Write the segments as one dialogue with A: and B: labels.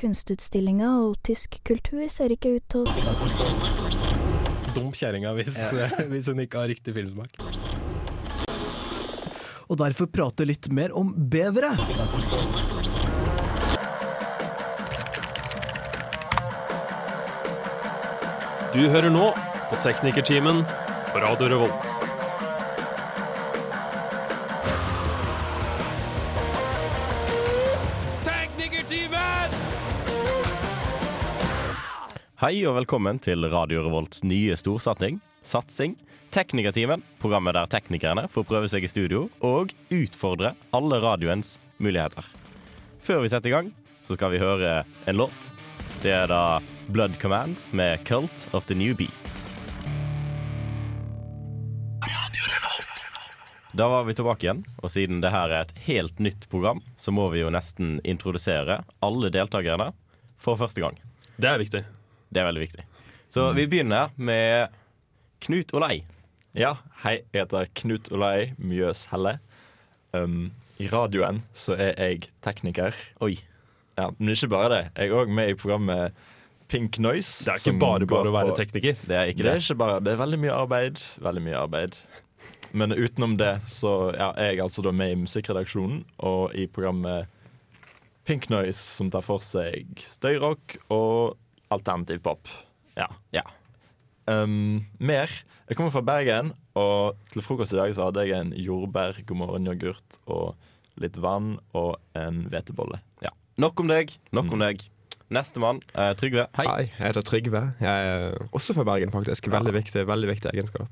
A: kunstutstillinga, og tysk kultur ser ikke ut til å
B: Dum kjerringa hvis, hvis hun ikke har riktig filmsmak.
C: og derfor prate litt mer om bevere.
D: Du hører nå på Teknikertimen på Radio Revolt.
E: Hei og velkommen til Radio Revolts nye storsatsing, Satsing, Teknikertimen. Programmet der teknikerne får prøve seg i studio og utfordre alle radioens muligheter. Før vi setter i gang, så skal vi høre en låt. Det er da Blood Command med Cult of the New Beat. Da var vi tilbake igjen, og siden det her er et helt nytt program, så må vi jo nesten introdusere alle deltakerne for første gang.
D: Det er viktig.
E: Det er veldig viktig. Så vi begynner med Knut Olei.
F: Ja, hei, jeg heter Knut Olai Mjøs Helle. Um, I radioen så er jeg tekniker.
E: Oi.
F: Ja, men ikke bare det. Jeg er òg med i programmet Pink Noise.
D: Det er ikke
F: som
D: bare
F: går
D: bare å være
F: på-
D: tekniker.
E: Det er ikke
F: Det
E: det.
F: er ikke bare, det er veldig mye arbeid. Veldig mye arbeid. Men utenom det så ja, er jeg altså da med i musikkredaksjonen og i programmet Pink Noise, som tar for seg støyrock og alternativ pop. Ja.
E: Ja.
F: Um, mer. Jeg kommer fra Bergen, og til frokost i dag så hadde jeg en jordbær, god morgen-yoghurt og litt vann og en hvetebolle.
E: ja. Nok om deg. Nok om deg. Nestemann. Eh, Trygve. Hei.
G: Hei, jeg heter Trygve. Jeg er også fra Bergen, faktisk. Veldig viktig, veldig viktig egenskap.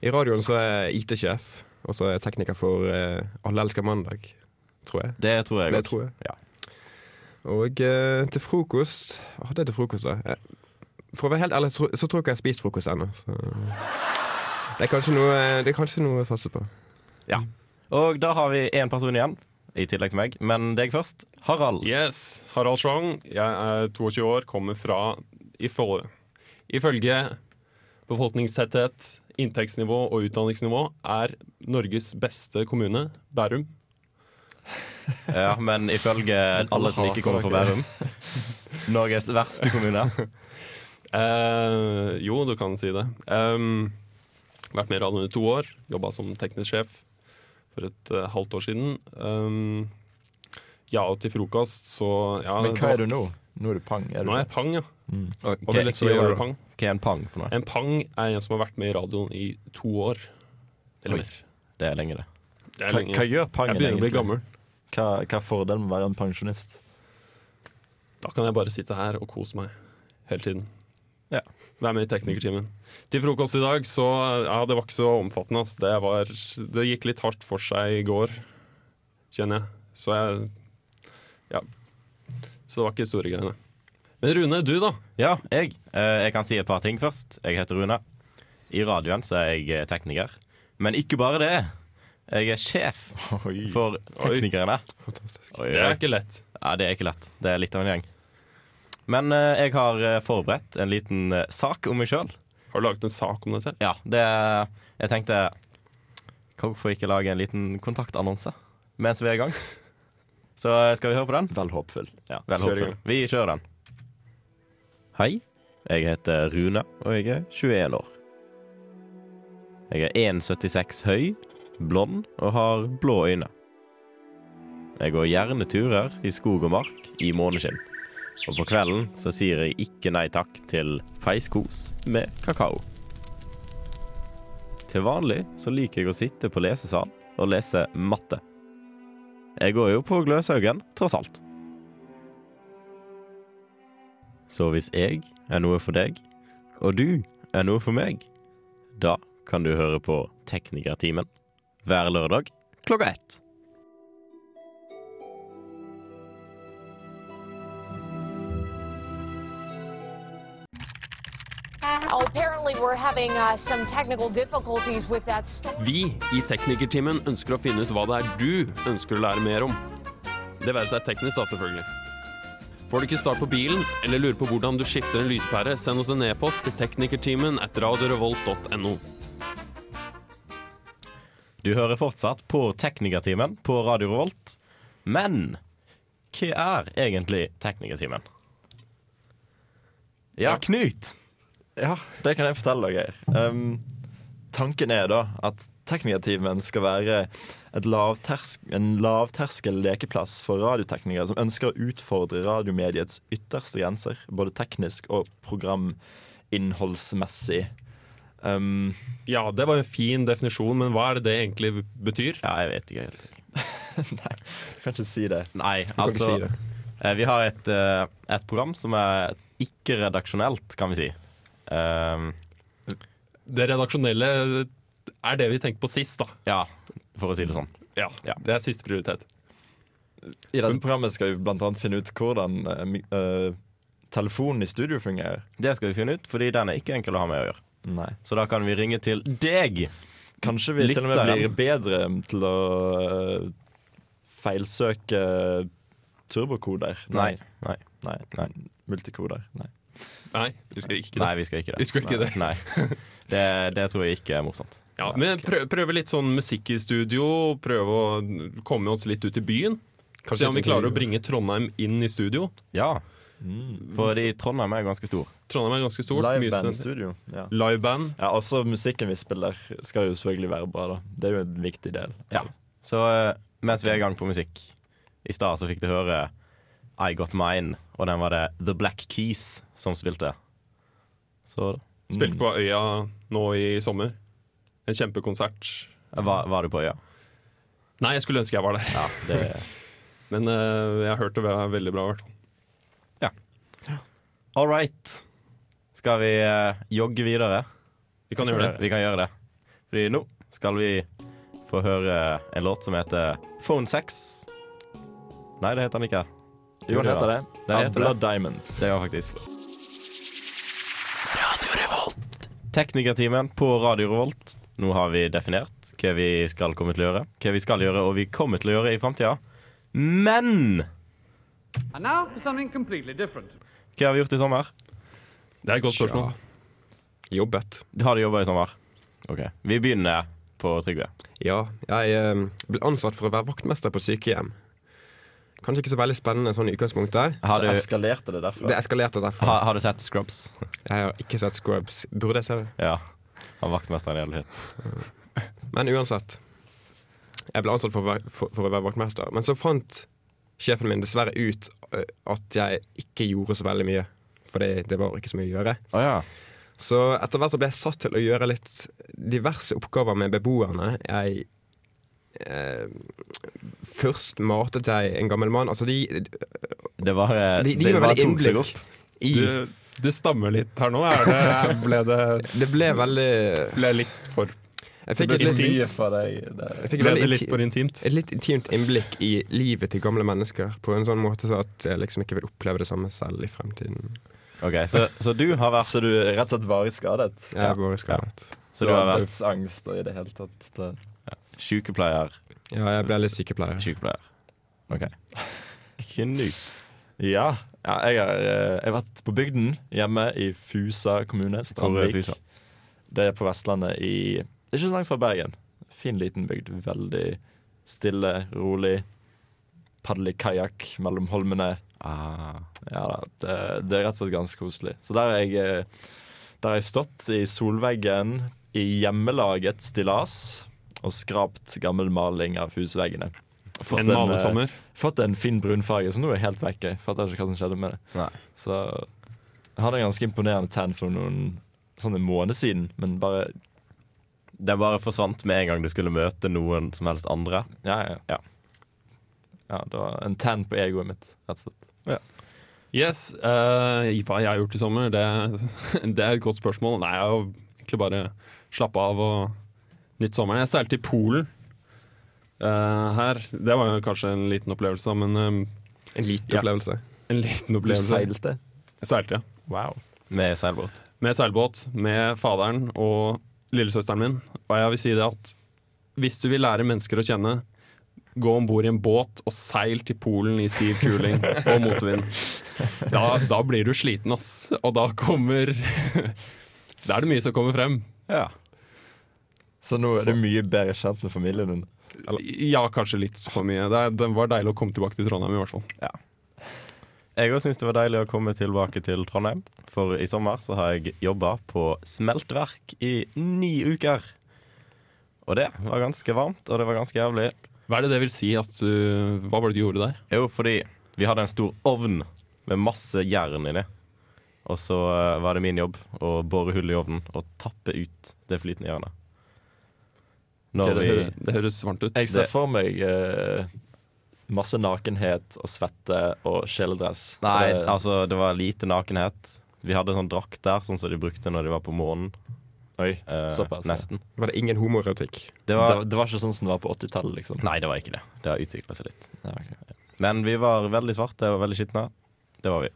G: I radioen så er jeg IT-sjef, og så er jeg tekniker for eh, Alle elsker mandag, tror jeg.
E: Det tror jeg
G: Det
E: også.
G: tror jeg.
E: Ja.
G: Og eh, til frokost Hva hadde jeg til frokost, da? Jeg, for å være helt ærlig, så, så tror jeg ikke jeg har spist frokost ennå. Så det er kanskje noe, eh, det er kanskje noe å satse på.
E: Og da har vi én person igjen, i tillegg til meg. Men deg først. Harald.
D: Yes, Harald Schwang. Jeg er 22 år, kommer fra ifol- Ifølge befolkningstetthet, inntektsnivå og utdanningsnivå er Norges beste kommune Bærum.
E: Ja, men ifølge alle som ikke kommer fra Bærum Norges verste kommune.
D: Eh, jo, du kan si det. Um, vært med i radioen i to år. Jobba som teknisk sjef for et eh, halvt år siden. Um, ja, og til frokost, så ja,
F: Men hva er du nå? Nå er du pang. Er du Mm.
D: Nå er jeg pang, ja.
E: Og
D: Og
E: hva
D: det lette å
E: hva
D: være pang.
E: er en pang for noe?
D: En pang er en som har vært med i radioen i to år.
E: Oi.
D: Eller mer.
E: Det er lenge, det.
D: Det er
F: hva,
D: lenge.
F: hva gjør pangen
D: Jeg begynner å bli
F: egentlig?
D: gammel.
F: Hva, hva er fordelen med å være en pensjonist?
D: Da kan jeg bare sitte her og kose meg hele tiden.
E: Ja.
D: Vær med i teknikertimen. Til frokost i dag, så Ja, det var ikke så omfattende, ass. Det, var, det gikk litt hardt for seg i går, kjenner jeg. Så jeg Ja. Så det var ikke de store greiene. Men Rune, du, da?
E: Ja, jeg. Eh, jeg kan si et par ting først. Jeg heter Rune. I radioen så er jeg eh, tekniker. Men ikke bare det. Jeg er sjef for teknikerne.
G: Fantastisk.
E: Oi,
D: Det
E: oi.
D: er ikke lett.
E: Ja, det er ikke lett. Det er litt av en gjeng. Men eh, jeg har eh, forberedt en liten eh, sak om meg sjøl.
D: Har du laget en sak om deg selv?
E: Ja, det Jeg tenkte Hvorfor ikke lage en liten kontaktannonse mens vi er i gang? Så eh, skal vi høre på den?
F: Vel håpfull. Ja.
E: Vel,
D: Kjør i
E: håpfull. Vi kjører den. Hei, jeg heter Rune, og jeg er 21 år. Jeg er 1,76 høy, blond og har blå øyne. Jeg går gjerne turer i skog og mark i måneskinn. Og på kvelden så sier jeg ikke nei takk til feiskos med kakao. Til vanlig så liker jeg å sitte på lesesal og lese matte. Jeg går jo på Gløshaugen, tross alt. Så hvis jeg er noe for deg, og du er noe for meg, da kan du høre på Teknikertimen hver lørdag klokka ett.
H: Oh, apparently, we're having uh, some technical difficulties with that story.
D: Vi i Teknikertimen ønsker å finne ut hva det er du ønsker å lære mer om. Det være seg teknisk, da, selvfølgelig. Får du ikke start på bilen, eller lurer på hvordan du skifter en lyspære, send oss en e-post til teknikertimen at radiorevolt.no.
E: Du hører fortsatt på Teknikertimen på Radio Revolt, men hva er egentlig teknikertimen? Ja, Knut!
F: Ja, det kan jeg fortelle deg, Geir. Um, tanken er da at teknikertimen skal være et lavtersk, en lavterskel lekeplass for radioteknikere som ønsker å utfordre radiomediets ytterste grenser, både teknisk og programinnholdsmessig. Um,
D: Ja, det var en fin definisjon, men hva er det det egentlig betyr?
E: Ja, jeg vet ikke helt.
F: nei, jeg kan ikke si det.
E: Nei,
G: kan
E: altså
G: ikke si det.
E: eh, Vi har et, eh, et program som er ikke-redaksjonelt, kan vi si. Ehm,
D: Det redaksjonelle er det vi tenkte på sist, da.
E: ja, for å si det sånn.
D: Ja,
E: Ja.
D: Det er siste prioritet.
F: I dette programmet skal vi blant annet finne ut hvordan eh, mi- eh, telefonen i studio fungerer.
E: Det skal vi finne ut, fordi den er ikke enkel å ha med å gjøre.
F: Nei.
E: Så da kan vi ringe til deg.
F: Kanskje vi til og med blir
E: Lytteren.
F: bedre til å eh, feilsøke turbokoder.
E: Nei. Nei,
F: Nei.
E: Nei.
F: Multikoder. Nei.
D: Nei, vi skal ikke det.
E: Nei vi skal ikke det.
D: Vi skal ikke det.
E: Nei. Det, det tror jeg ikke er morsomt.
D: Ja, men prø prøve litt sånn musikk i studio, prøve å komme oss litt ut i byen. Se om vi klarer å bringe Trondheim inn i studio.
E: Ja,
D: Mm.
E: fordi Trondheim er ganske stor.
D: Trondheim er ganske stort. mye
F: Liveband i
D: studenter.
F: studio. Ja.
D: Liveband.
F: ja, også musikken vi spiller skal jo selvfølgelig være bra, da. Det er jo en viktig del.
E: Ja. Så eh, mens vi er i gang på musikk I stad så fikk du høre I Got Mine, og den var det The Black Keys som spilte. Så
D: Spilte på Øya nå i sommer. En kjempekonsert.
E: var, var du på øya?
D: Nei, jeg skulle ønske jeg var der,
E: Ja, det,
D: men eh, jeg har hørt det var veldig bra. i hvert fall.
E: All right. Skal vi eh, jogge videre?
D: Vi kan gjøre det.
E: Vi kan gjøre det. Fordi nå skal vi få høre en låt som heter Phone Sex. Nei, det heter den ikke.
F: Jo, den heter det.
E: Den
F: Av
E: heter
F: Blood Diamonds.
E: Det gjør den faktisk. Radio Revolt. Teknikertimen på Radio Revolt. Nå har vi definert hva vi skal komme til å gjøre, hva vi skal gjøre og vi kommer til å gjøre i framtida. Men
I: And now for something completely different.
E: hva har vi gjort i sommer?
D: Det er et godt spørsmål.
G: Jobbet.
E: Har du jobba i sommer? OK. Vi begynner på Trygve.
G: Ja, jeg eh, ble ansatt for å være vaktmester på et sykehjem. Kanskje ikke så veldig spennende sånn i utgangspunktet.
E: Har
F: Så
E: du,
F: eskalerte det derfra.
G: Det eskalerte derfor.
E: har, har du sett Scrubs?
G: Jeg har ikke sett Scrubs. Burde jeg se det?
E: Ja. Han vaktmesteren i hele tiden.
G: Men uansett. Jeg ble ansatt for å være, for, for å være vaktmester. Men så fant sjefen min dessverre ut eh, at jeg ikke gjorde så veldig mye. For det, det var ikke så mye å gjøre.
E: Å ja.
G: Så etter hvert så ble jeg satt til å gjøre litt diverse oppgaver med beboerne. Jeg eh, Først matet jeg en gammel mann. Altså, de,
E: Det var eh,
G: De- de
E: det
G: gir
E: bare
G: veldig
E: tok seg
G: innblikk.
E: opp.
G: i,
D: Du, du stammer litt her nå. Er det, ble det
G: Det ble veldig
D: ble litt for
G: Jeg fikk
D: Det
G: et
D: ble
G: litt,
D: intimt.
F: Mye for deg der.
G: jeg fikk et
D: Ble det
G: veldig
D: litt
G: inti-
D: for intimt?
G: et litt intimt innblikk i livet til gamle mennesker på en sånn måte så at jeg liksom ikke vil oppleve det samme selv i fremtiden.
E: Ok, så, så du har vært,
F: Så du er rett og slett varig skadet?
G: Jeg er bare skadet.
E: så du har vært
F: dødsangst og i det hele tatt det.
E: sykepleier.
G: Ja, jeg ble litt sykepleier.
E: Sykepleier. OK. Knut.
F: Ja. ja jeg, har, eh, jeg har vært på bygden hjemme i Fusa kommune.
E: Hvor er
F: Strandvik.
E: Fusa?
F: Det er på Vestlandet i Det er ikke så langt fra Bergen. Fin, liten bygd. Veldig stille, rolig. Padle i kajakk mellom holmene.
E: Ah.
F: Ja da, det, det er rett og slett ganske koselig. Så der har jeg, eh, der har jeg stått i solveggen i hjemmelaget stillas og skrapt gammel maling av husveggene. Fått
D: En
F: eh,
D: malesommer?
F: Fått en fin brunfarge, så nå er jeg helt vekke. Fatter ikke hva som skjedde med det.
E: Nei.
F: Så jeg hadde en ganske imponerende tan for noen sånn en måned siden, men bare
E: Den bare forsvant med en gang du skulle møte noen som helst andre.
F: Ja, ja.
E: Ja.
F: Ja, det var en tan på egoet mitt, rett og slett.
D: Yes. eh, hva jeg har gjort i sommer, det, det er et godt spørsmål. Nei, jeg har egentlig bare slappa av og nytt sommeren. Jeg seilte i Polen eh, her. Det var jo kanskje en liten opplevelse, men eh,
G: En liten
D: Ja.
G: opplevelse.
D: en liten opplevelse. Jeg seilte, ja.
F: Wow.
E: Med seilbåt.
D: med seilbåt med faderen og lillesøsteren min. Og jeg vil si det at hvis du vil lære mennesker å kjenne, gå om bord i en båt og seil til Polen i stiv kuling og motvind. Da, da blir du sliten, ass. Og da kommer Da er det mye som kommer frem.
E: Ja.
F: Så nå er du mye bedre kjent med familien din.
D: Ja, kanskje litt for mye. Det, er- det var deilig å komme tilbake til Trondheim, i hvert fall.
E: Jeg òg syns det var deilig å komme tilbake til Trondheim, for i sommer så har jeg jobba på smeltverk i ni uker. Og det var ganske varmt, og det var ganske jævlig.
D: Hva er det det vil si at du Hva var det du gjorde der?
E: Jo, fordi vi hadde en stor ovn med masse jern inni. Og så eh, var det min jobb å bore hull i ovnen og tappe ut det flytende jernet. Når
D: Ok, det,
E: vi
D: høres, det høres varmt ut.
F: Jeg ser
E: Det-
F: for meg eh, masse nakenhet og svette og kjeledress.
E: Nei,
F: Det-
E: altså, det var lite nakenhet. Vi hadde sånn drakt der, sånn som de brukte når de var på månen.
F: Oi,
E: Eh,
F: såpass. ja.
E: nesten.
G: Var det ingen homoerotikk?
E: Det
F: Det,
E: var,
F: det var ikke sånn som det var på 80-tallet, liksom.
E: nei, det var ikke det. Det har utvikla seg litt.
F: Ja, ok.
E: Men vi var veldig svarte og veldig skitne. Det var vi.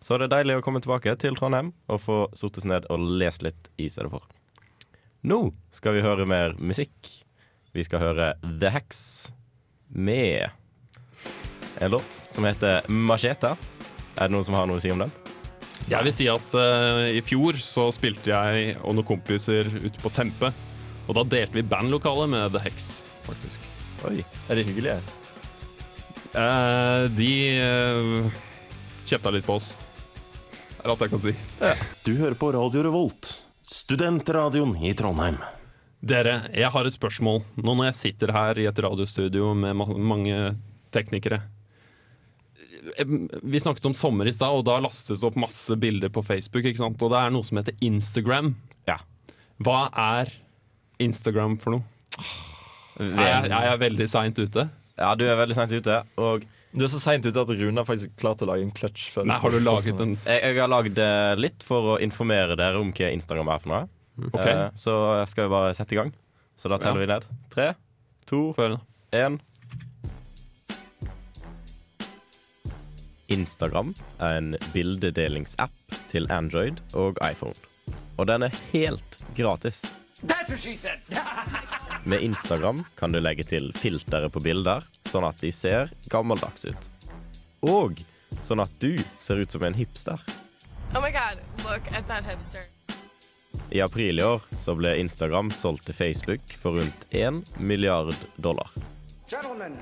E: Så det er deilig å komme tilbake til Trondheim og få sortes ned og lest litt i stedet for. Nå skal vi høre mer musikk. Vi skal høre The Hex med en låt som heter Macheta. Er det noen som har noe å si om den?
D: Jeg vil si at eh, i fjor så spilte jeg og noen kompiser ute på Tempe. Og da delte vi bandlokalet med The Hex, faktisk.
F: Oi, er de hyggelige?
D: Eh, de eh, kjefta litt på oss. Er alt jeg kan si.
J: Du hører på Radio Revolt, studentradioen i Trondheim.
D: Dere, jeg har et spørsmål. Nå når jeg sitter her i et radiostudio med ma mange teknikere Eh, Vi snakket om sommer i stad, og da lastes det opp masse bilder på Facebook. ikke sant? Og det er noe som heter Instagram.
E: Ja.
D: Hva er Instagram for noe?
E: Ah,
D: Er jeg, er jeg veldig seint ute?
E: Ja, du er veldig sent ute. Og
F: Du er så seint ute at Rune har faktisk klart å lage en clutch. før
D: Nei, har du laget en
E: jeg, jeg har lagd eh, litt for å informere dere om hva Instagram er for noe.
D: Mm. OK,
E: Eh, Så skal vi bare sette i gang. Så da teller
D: Ja.
E: vi ned. Tre, to,
D: få høre.
E: En Instagram er en bildedelingsapp til Android og iPhone. Og den er helt gratis. Med Instagram kan du legge til filtre på bilder, sånn at de ser gammeldags ut. Og sånn at du ser ut som en hipster.
K: Oh my god, look at that hipster.
E: I april i år så ble Instagram solgt til Facebook for rundt 1 milliard dollar.
L: Gentlemen,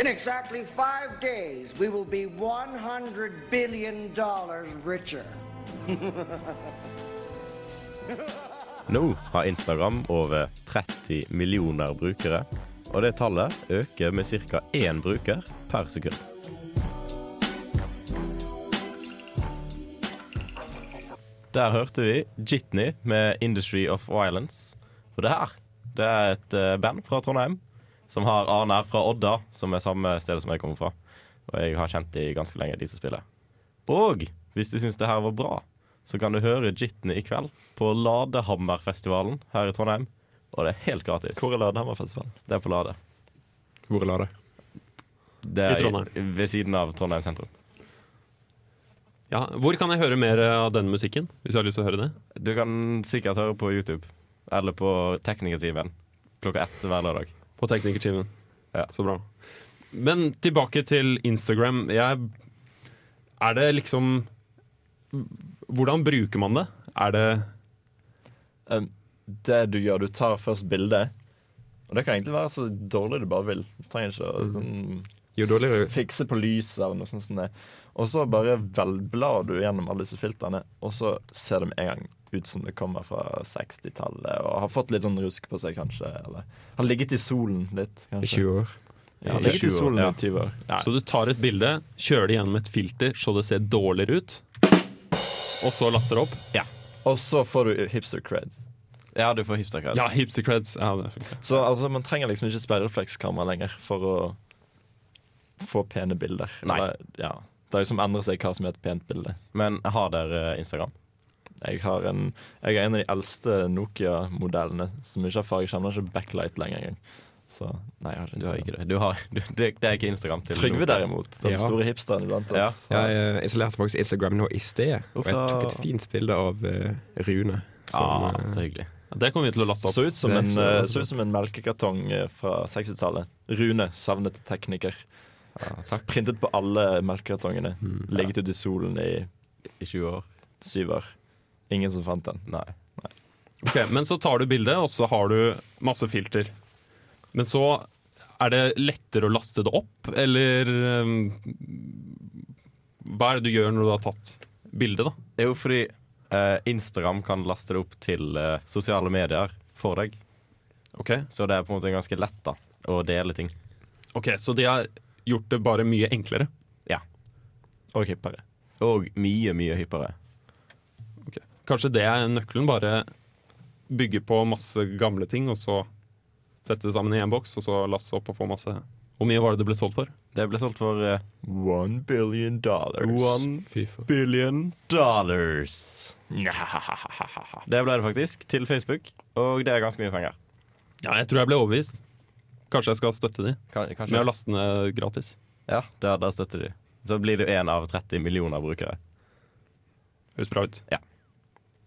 L: in exactly five days, we will be $100 billion richer.
E: Nå har Instagram over 30 millioner brukere, og det tallet øker med ca. én bruker per sekund. Der hørte vi Jitney med 'Industry of Violence'. Og det her, det er et eh, band fra Trondheim som har Arne fra Odda, som er samme sted som jeg kommer fra. Og jeg har kjent de ganske lenge, de som spiller. Og hvis du syns det her var bra, så kan du høre Jitney i kveld på Ladehammerfestivalen her i Trondheim. Og det er helt gratis.
F: Hvor er Ladehammerfestivalen?
E: Det er på Lade.
G: Hvor la det?
E: Det er
D: I Trondheim.
E: Ved siden av Trondheim sentrum.
D: Ja, hvor kan jeg høre mer av denne musikken? Hvis jeg har lyst til å høre det?
E: Du kan sikkert høre på YouTube eller på Teknikertimen klokka ett hver lørdag.
D: På teknikertimen.
E: Ja.
D: Så bra. Men tilbake til Instagram. Jeg Er det liksom Hvordan bruker man det? Er det
F: Um, det du gjør, du tar først bildet. Og det kan egentlig være så dårlig du bare vil. Du trenger ikke
D: Mm.
F: å sånn,
G: Jo dårligere
F: fikse på lyset eller noe sånt. som det. Og så bare velblar du gjennom alle disse filtrene, og så ser det med en gang ut som det kommer fra 60-tallet og har fått litt sånn rusk på seg, kanskje. Eller har ligget i solen litt,
G: i
F: kanskje.
G: 20 år.
F: Ja, ligget
E: 20
F: i
E: år,
F: solen
E: ja.
F: i 20 år. Ja.
D: Så du tar et bilde, kjører det gjennom et filter så det ser dårligere ut, og så laster det opp?
F: Og så får du hipster cred.
E: Ja, du får hipsterkrets.
D: Ja, hipster creds. Ja, det funker.
F: Så altså, man trenger liksom ikke speilreflekskamera lenger for å få pene bilder.
E: Nei.
F: Eller, ja. Det er jo som endrer seg hva som er et pent bilde.
E: Men har dere Instagram?
F: Jeg har en, jeg er en av de eldste Nokia-modellene som ikke har farge. Jeg kjenner ikke backlight lenger engang. Så nei, jeg
E: Du har
F: har ikke, Instagram.
E: ikke det. Du har, du, det, det er ikke Instagram til
F: Trygve
E: noen.
F: derimot, den
G: Ja.
F: store hipsteren iblant
E: Ja.
F: oss.
G: Jeg eh, installerte faktisk Instagram nå i sted, og jeg tok et fint bilde av eh, Rune. Som,
E: Ah,
G: eh,
E: så hyggelig.
D: Ja, Det kommer vi til å laste opp.
F: Så ut som
G: Det er
F: en,
G: så-
F: eh, så ut som en melkekartong eh, fra 60-tallet. Rune, savnet tekniker. Printet på alle melkekartongene. Ligget ute i solen i
E: I 20 år?
F: syv år. Ingen som fant den.
E: Nei.
D: Ok, men så tar du bildet, og så har du masse filter. Men så Er det lettere å laste det opp, eller um, Hva er det du gjør når du har tatt bildet, da?
E: Det er jo fordi eh, Instagram kan laste det opp til eh, sosiale medier for deg. Så det er på en måte ganske lett da å dele ting.
D: Ok, Så de har gjort det bare mye enklere?
E: Ja.
F: Og hippere.
E: Og mye, mye hyppere.
D: Kanskje det er nøkkelen? Bare bygge på masse gamle ting, og så sette det sammen i en boks, og så laste opp og få masse Hvor mye var det det ble solgt for?
E: Det ble solgt for eh,
F: One billion dollars.
E: One
F: billion
E: dollars. Det ble det faktisk, til Facebook, og det er ganske mye penger.
D: Ja, jeg tror jeg ble overbevist. Kanskje jeg skal støtte de med å laste ned gratis.
E: Ja, der, der støtter de. Så blir du én av 30 millioner brukere.
D: Høres bra ut.
E: Ja.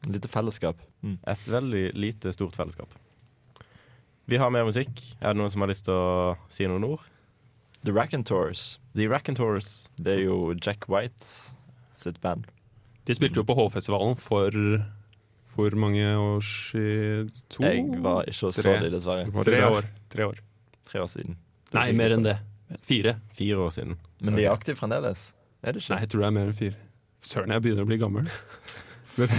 F: Lite fellesskap.
E: Et veldig lite, stort fellesskap. Vi har mer musikk. Er det noen som har lyst til å si noen ord?
F: The Raconteurs.
E: The Raconteurs.
F: Det er jo Jack White sitt band.
D: De spilte jo på Hovfestivalen for hvor mange år siden? To?
F: Jeg var ikke og så
D: Tre.
F: de, dessverre.
D: Var
F: Tre
D: det der?
F: år.
D: Tre år.
F: Tre år siden.
D: Nei, mer enn det. Fire.
E: Fire år siden.
F: Men de er aktive fremdeles? Er det ikke?
D: Nei, jeg tror det er mer enn fire. Søren, jeg begynner å bli gammel. Men,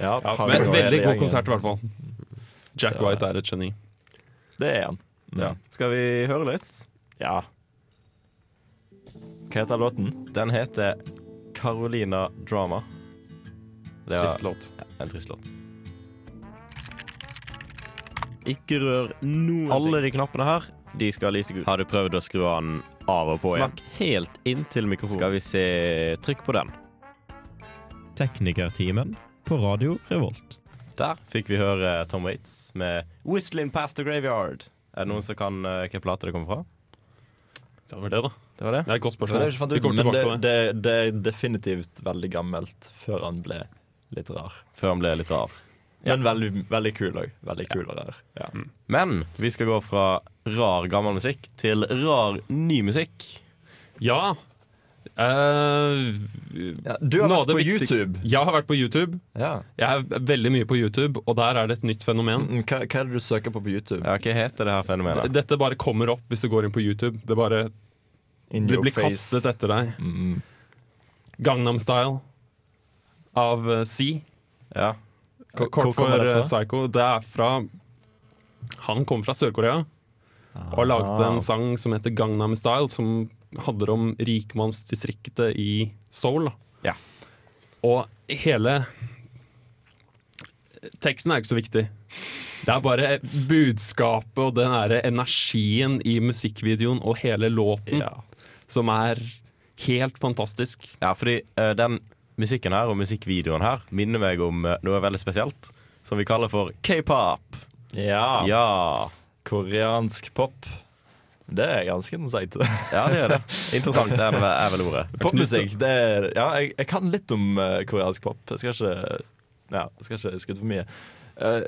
F: Ja, har
D: men
F: vi noe
D: veldig
F: hele
D: god
F: gjengen.
D: konsert, i hvert fall. Jack White er et geni.
F: Det er han.
E: Ja. Skal vi høre litt?
F: Ja. Hva heter låten?
E: Den heter Carolina Drama. Det var-
F: Trist låt.
E: Ja, en trist låt. Ikke rør noen Alle de knappene her, de skal lyse gult. Har du prøvd å skru den av og på igjen? Snakk helt inntil mikrofonen. Skal vi se Trykk på den. Teknikertimen på Radio Revolt. Der fikk vi høre Tom Waits med 'Whistling Past the Graveyard'. Er det noen som kan eh, hva plate det kommer fra?
D: Det var det, da.
E: Det var det?
D: Det er et godt
F: Det
D: spørsmål.
F: er ikke fant
D: Vi
F: ut,
D: kommer
F: men det,
D: tilbake på det.
F: det, det er definitivt veldig gammelt før han ble litt rar.
E: Før han ble litt rar.
F: Men veldig, veldig kul òg. Veldig kul og rar. Ja.
E: Men vi skal gå fra rar gammel musikk til rar ny musikk.
D: Ja. Eh,
F: du har vært på YouTube.
D: Jeg har vært på YouTube. Jeg er veldig mye på YouTube, og der er det et nytt fenomen.
F: Mm, Hva, hva er det du søker på på YouTube?
E: Ja, Hva heter det her fenomenet?
D: Dette bare kommer opp hvis du går inn på YouTube. Det bare
F: In
D: Det
F: your
D: blir
F: face.
D: kastet etter deg.
E: Mm-hmm.
D: Gangnam Style av eh, C.
E: Ja.
D: K-
E: Hvor
D: Kort
E: kommer
D: for
E: det
D: eh,
E: fra?
D: Psycho. Det er fra Han kom fra Sør-Korea og lagde
E: Ah.
D: en sang som heter Gangnam Style, som handler om rikmannsdistriktet i Seoul. da. Og hele Teksten er ikke så viktig. Det er bare budskapet og den der energien i musikkvideoen og hele låten som er helt fantastisk.
E: Ja, fordi eh, den musikken her og musikkvideoen her minner meg om eh, noe veldig spesielt, som vi kaller for k-pop.
F: Ja.
E: Ja.
F: Koreansk pop. Det er ganske interessant.
E: Ja, det er det. Interessant er, det, er vel ordet.
F: Popmusikk, det er Ja, jeg, jeg kan litt om eh, koreansk pop. Jeg skal ikke Ja, jeg skal ikke skryte for mye. Eh,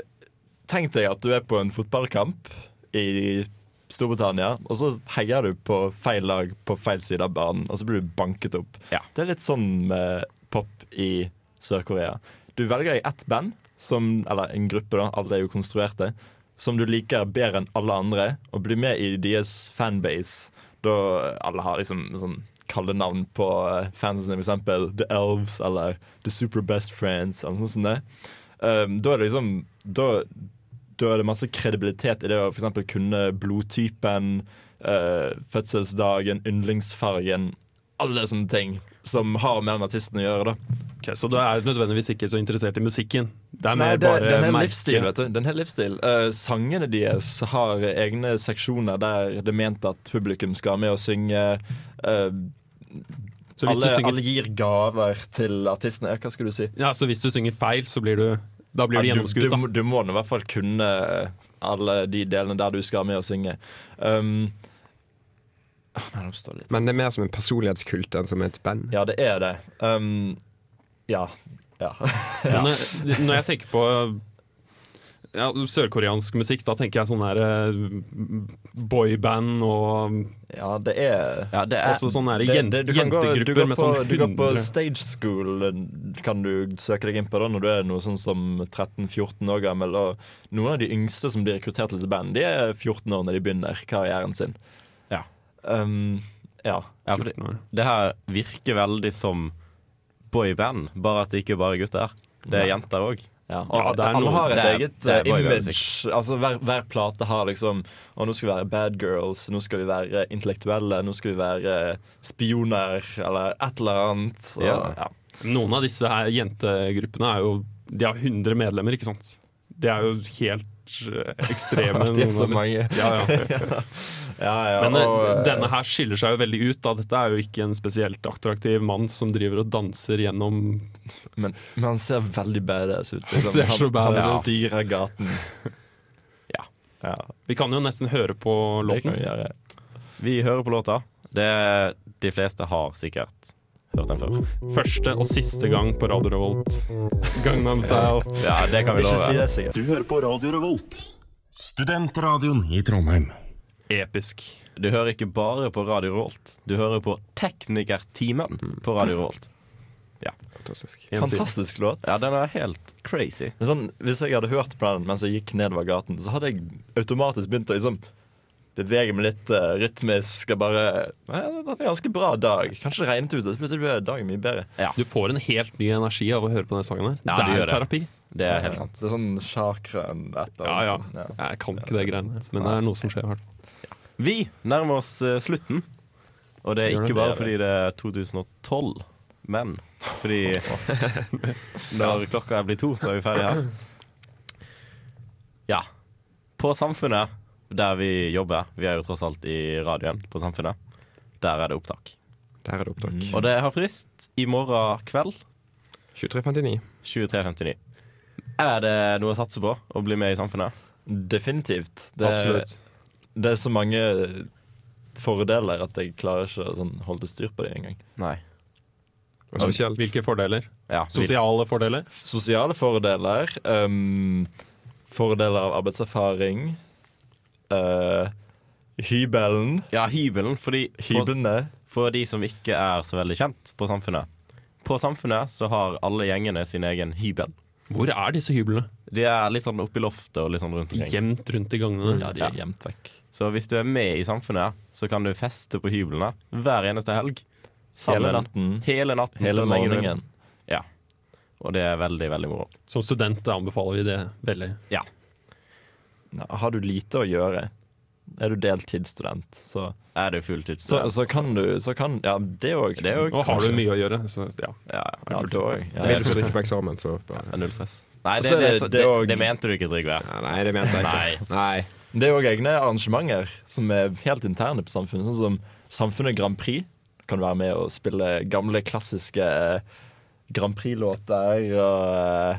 F: tenk deg at du er på en fotballkamp i Storbritannia, og så heier du på feil lag på feil side av banen, og så blir du banket opp. Det er litt sånn med pop i Sør-Korea. Du velger i ett band, som, eller en gruppe, da, alle er jo konstruerte, som du liker bedre enn alle andre, og blir med i deres fanbase. Da alle har liksom sånn kallenavn på eh, fansen sine, for eksempel The Elves eller The Super Best Friends eller noe sånt. der. Um, da er det liksom da, da er det masse kredibilitet i det å for eksempel kunne blodtypen, eh, fødselsdagen, yndlingsfargen Alle sånne ting som har med den artisten å gjøre. da
D: Ok, så du er nødvendigvis ikke så interessert i musikken? Det er
F: Nei,
D: mer
F: det,
D: bare
F: den her
D: merket.
F: livsstil, vet du. Den her livsstil. Eh, sangene deres har egne seksjoner der det er ment at publikum skal med og synge. eh,
D: Så hvis du
F: alle,
D: synger-
F: alle gir gaver til artistene. Ja, Hva skulle du si?
D: Ja, så hvis du synger feil, så blir du Da blir du
F: Ja,
D: gjennomskuet,
F: du,
D: da.
F: må- du må nå i hvert fall kunne eh, alle de delene der du skal med og synge. Um, åh, nei, nå står det litt.
G: Men det er mer som en personlighetskult enn som et band.
F: Ja, det er det. Um, ja. Ja.
D: Men, eh, Når jeg tenker på ja, sørkoreansk musikk, da tenker jeg sånn her eh, boyband og
F: Ja, det er,
D: Også Altså sånne her
F: det-
D: jen-
F: det- du kan gå- du
D: jentegrupper
F: går
D: med
F: på-
D: sånn
F: Du går på
D: 100
F: stage school, eh, kan du søke deg inn på da, når du er noe sånn som 13-14 år gammel. Og noen av de yngste som blir rekruttert til disse bandene, de er 14 år når de begynner karrieren sin.
E: Ja.
F: Um, ja.
E: Ja, for det, det her virker veldig som boyband, bare at det ikke bare er gutter. Det er
F: Nei.
E: jenter òg.
F: Ja, og alle har et eget eh, image. Altså hver, hver plate har liksom Og nå skal vi være bad girls, nå skal vi være intellektuelle, nå skal vi være spioner, eller et eller annet. Og,
D: Ja.
F: ja.
D: Noen av disse her jentegruppene er jo De har 100 medlemmer, ikke sant? Det er jo helt eh, ekstreme.
F: Det er
D: noen
F: så
D: av de.
F: mange.
D: Ja, ja.
F: Ja. Ja, ja,
D: Men eh,
F: og, eh,
D: denne her skiller seg jo veldig ut. Da. Dette er jo ikke en spesielt attraktiv mann som driver og danser gjennom
F: Men, men han ser veldig badass ut. liksom.
D: Han ser så
F: han,
D: badass
F: han
D: ut.
F: styrer gaten. Ja.
D: Vi kan jo nesten høre på låten.
F: vi gjøre.
E: Vi hører på låta. Det de fleste har sikkert hørt den før.
D: Første og siste gang på Radio Revolt. Gangnam Style.
E: Ja, det kan vi love.
J: Du hører på Radio Revolt, studentradioen i Trondheim.
D: Episk.
E: Du hører ikke bare på Radio Rolt. Du hører på Teknikertimen på Radio Rolt. Ja.
G: Fantastisk.
F: Fantastisk låt.
E: Ja, den er helt crazy.
F: Men Sånn, hvis jeg hadde hørt på den mens jeg gikk nedover gaten, så hadde jeg automatisk begynt å liksom bevege meg litt eh, rytmisk og bare Nei, det var en ganske bra dag. Kanskje det regnet ute, så plutselig ble dagen mye bedre.
D: Du får en helt ny energi av å høre på denne sangen her. det
E: Ja, du
D: er
E: gjør
D: jo terapi.
E: Det er helt sant.
F: Det er sånn sjakraen etter.
D: Ja, ja. Jeg kan ikke det greiene, men det er noe som skjer. i hvert fall.
E: Vi nærmer oss eh, slutten. Og det er
D: Gjør det?
E: ikke bare
D: Det
E: fordi det er 2012, men fordi når klokka blir to, så er vi ferdige her. Ja. På Samfunnet, der vi jobber, vi er jo tross alt i radioen på Samfunnet, der er det opptak.
G: Der er det opptak.
E: Og det har frist i morgen kveld
G: 23.59.
E: 23.59. Er det noe å satse på å bli med i Samfunnet?
F: Definitivt. Det,
E: Absolutt.
F: Det er så mange fordeler at jeg klarer ikke å sånn, holde styr på det engang.
E: Nei.
G: Og spesielt
D: Hvilke fordeler?
E: Ja, vi-
D: Sosiale fordeler?
F: Sosiale fordeler. ehm, fordeler av arbeidserfaring. eh, hybelen.
E: Ja, hybelen. Fordi på,
F: Hyblene.
E: for de som ikke er så veldig kjent på Samfunnet På Samfunnet så har alle gjengene sin egen hybel.
D: Hvor er disse hyblene?
E: De er litt sånn oppi loftet og litt sånn rundt omkring.
D: Gjemt rundt i gangene.
F: Ja, de er gjemt vekk.
E: Så hvis du er med i Samfunnet, så kan du feste på hyblene hver eneste helg.
F: Hele natten.
E: Hele natten.
F: Hele
E: så lenge du vil.
F: morgenen.
E: Ja. Og det er veldig, veldig moro.
D: Som student anbefaler vi det veldig.
E: Ja.
F: Ja, Har du lite å gjøre, er du deltidsstudent, så,
E: Er du
F: så,
E: fulltidsstudent?
F: så kan du så kan, Ja, det òg.
E: Det er jo
D: Og har du mye å gjøre, så ja.
E: Ja,
F: Ja, det også, ja.
G: Vil du stryke på eksamen, så bare
E: ja. Null stress. Nei,
F: Og
E: det,
F: så er
E: det,
F: det-
E: det,
F: det er
E: det,
F: også-
E: mente du ikke, Trygve.
G: ja, Nei, det mente jeg ikke. Nei.
F: Det er òg egne arrangementer som er helt interne på samfunnet. Sånn som Samfunnet Grand Prix kan være med og spille gamle, klassiske eh, Grand Prix-låter og eh,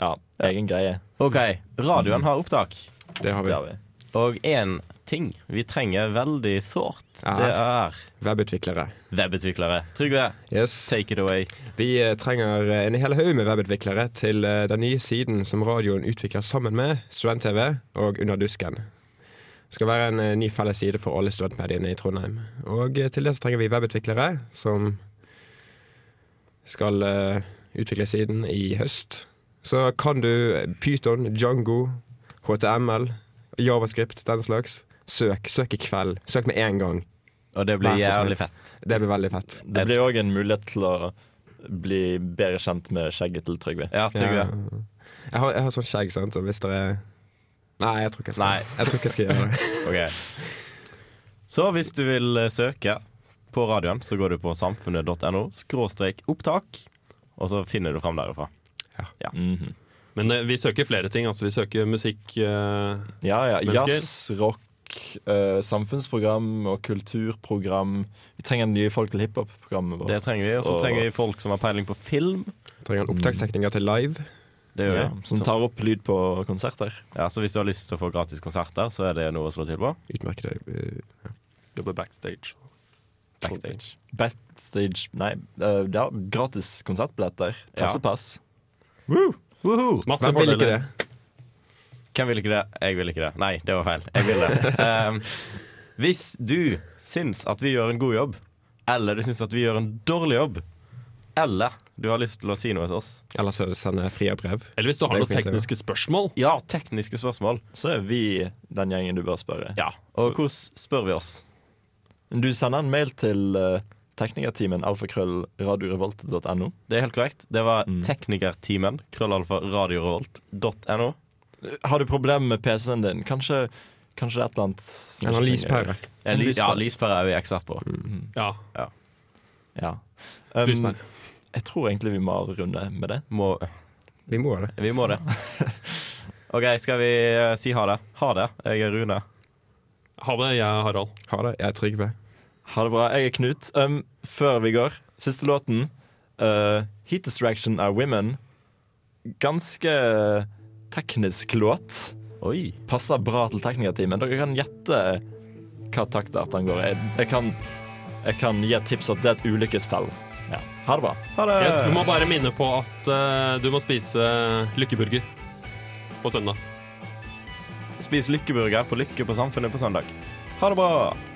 F: ja, egen greie.
E: OK, radioen har opptak.
G: Det har
F: Det
G: vi.
F: har vi.
E: Og én ting vi trenger veldig sårt,
G: Ja.
E: det er
G: Webutviklere.
E: webutviklere. Trygve,
G: Yes.
E: take it away.
G: Vi eh, trenger eh, en hel haug med webutviklere til eh, den nye siden som radioen utvikler sammen med Student-TV og Under dusken. Det skal være en eh, ny felles side for alle studentmediene i Trondheim. Og eh, til det så trenger vi webutviklere som skal eh, utvikle siden i høst. Så kan du Pyton, Django, HTML, Javascript, den slags. Søk. Søk i kveld. Søk med en gang.
E: Og det
G: Vær
E: blir
G: så snill.
E: jævlig fett.
G: Det blir veldig fett.
F: Det blir òg en mulighet til å bli bedre kjent med skjegget til Trygve.
E: Ja, Trygve.
G: Jeg har, jeg har sånn skjegg, sant, og hvis dere Nei, jeg tror ikke jeg skal,
E: Nei.
G: Jeg tror ikke jeg skal gjøre det.
E: OK. Så hvis du vil eh, søke på radioen, så går du på samfunnet.no skråstrek opptak, og så finner du fram derifra.
F: Mhm.
D: Men eh, vi søker flere ting. altså Vi søker musikk eh,
F: Ja, ja.
D: Mennesker.
F: Jazz, rock, eh, samfunnsprogram og kulturprogram. Vi trenger nye folk til hiphop-programmet vårt.
E: Det trenger vi. Og så trenger vi folk som har peiling på film.
G: Trenger en opptakstekniker til live.
E: Det gjør
F: ja,
E: vi.
F: Som tar opp lyd på konserter.
E: Ja, så hvis du har lyst til å få gratis konserter, så er det noe å slå til på.
G: Utmerket eh,
D: jobber backstage.
E: Backstage.
F: Backstage Nei, eh, ja, gratis konsertbilletter. Pressepass.
E: Woohoo!
D: Masse
G: Hvem vil ikke
D: fordeler.
G: det?
E: Hvem vil ikke det? Jeg vil ikke det. Nei, det var feil. Jeg vil det. Ehm, hvis du syns at vi gjør en god jobb, eller du syns at vi gjør en dårlig jobb, eller du har lyst til å si noe til oss
G: Eller så sender jeg frierbrev.
D: Eller hvis du har
G: Det er
D: noen
G: fint, det.
D: tekniske spørsmål.
E: Ja, tekniske spørsmål.
F: Så er vi den gjengen du bør spørre.
E: Ja, Og hvordan spør vi oss?
F: Du sender en mail til eh, teknikerteamen alfakrøllradiorevolt.no.
E: Det er helt korrekt. Det var teknikerteamen. Krøllalfa radiorevolt.no.
F: Har du problemer med PC-en din? Kanskje, kanskje det er et eller annet som
E: Eller
F: ikke
E: lyspære.
F: fungerer.
E: Ja,
F: En
E: ly- ja, Mm.
F: lyspære.
E: lyspære er vi ekspert på.
D: Ja.
E: Ja.
F: Ja. Um,
E: Lyspære.
F: Jeg tror egentlig vi må runde med det.
E: Må,
G: Vi må det.
E: vi må det. OK, skal vi eh, si ha det? Ha det. Jeg er Rune.
D: Ha det, jeg er Harald.
G: Ha det. Jeg er Trygve.
F: Ha det bra. Jeg er Knut. Um, før vi går, siste låten. eh, Heat Distraction Are Women. Ganske teknisk låt.
E: Oi.
F: Passer bra til teknikerteamen. Dere kan gjette hva taktart han går i. Jeg, jeg, kan- jeg kan gi et tips at det er et ulykkestall. Ja. Ha det bra.
G: Eh.
D: Yes, vi må bare minne på at eh, du må spise lykkeburger på søndag.
E: Spis lykkeburger på Lykke på Samfunnet på søndag. Ha det bra!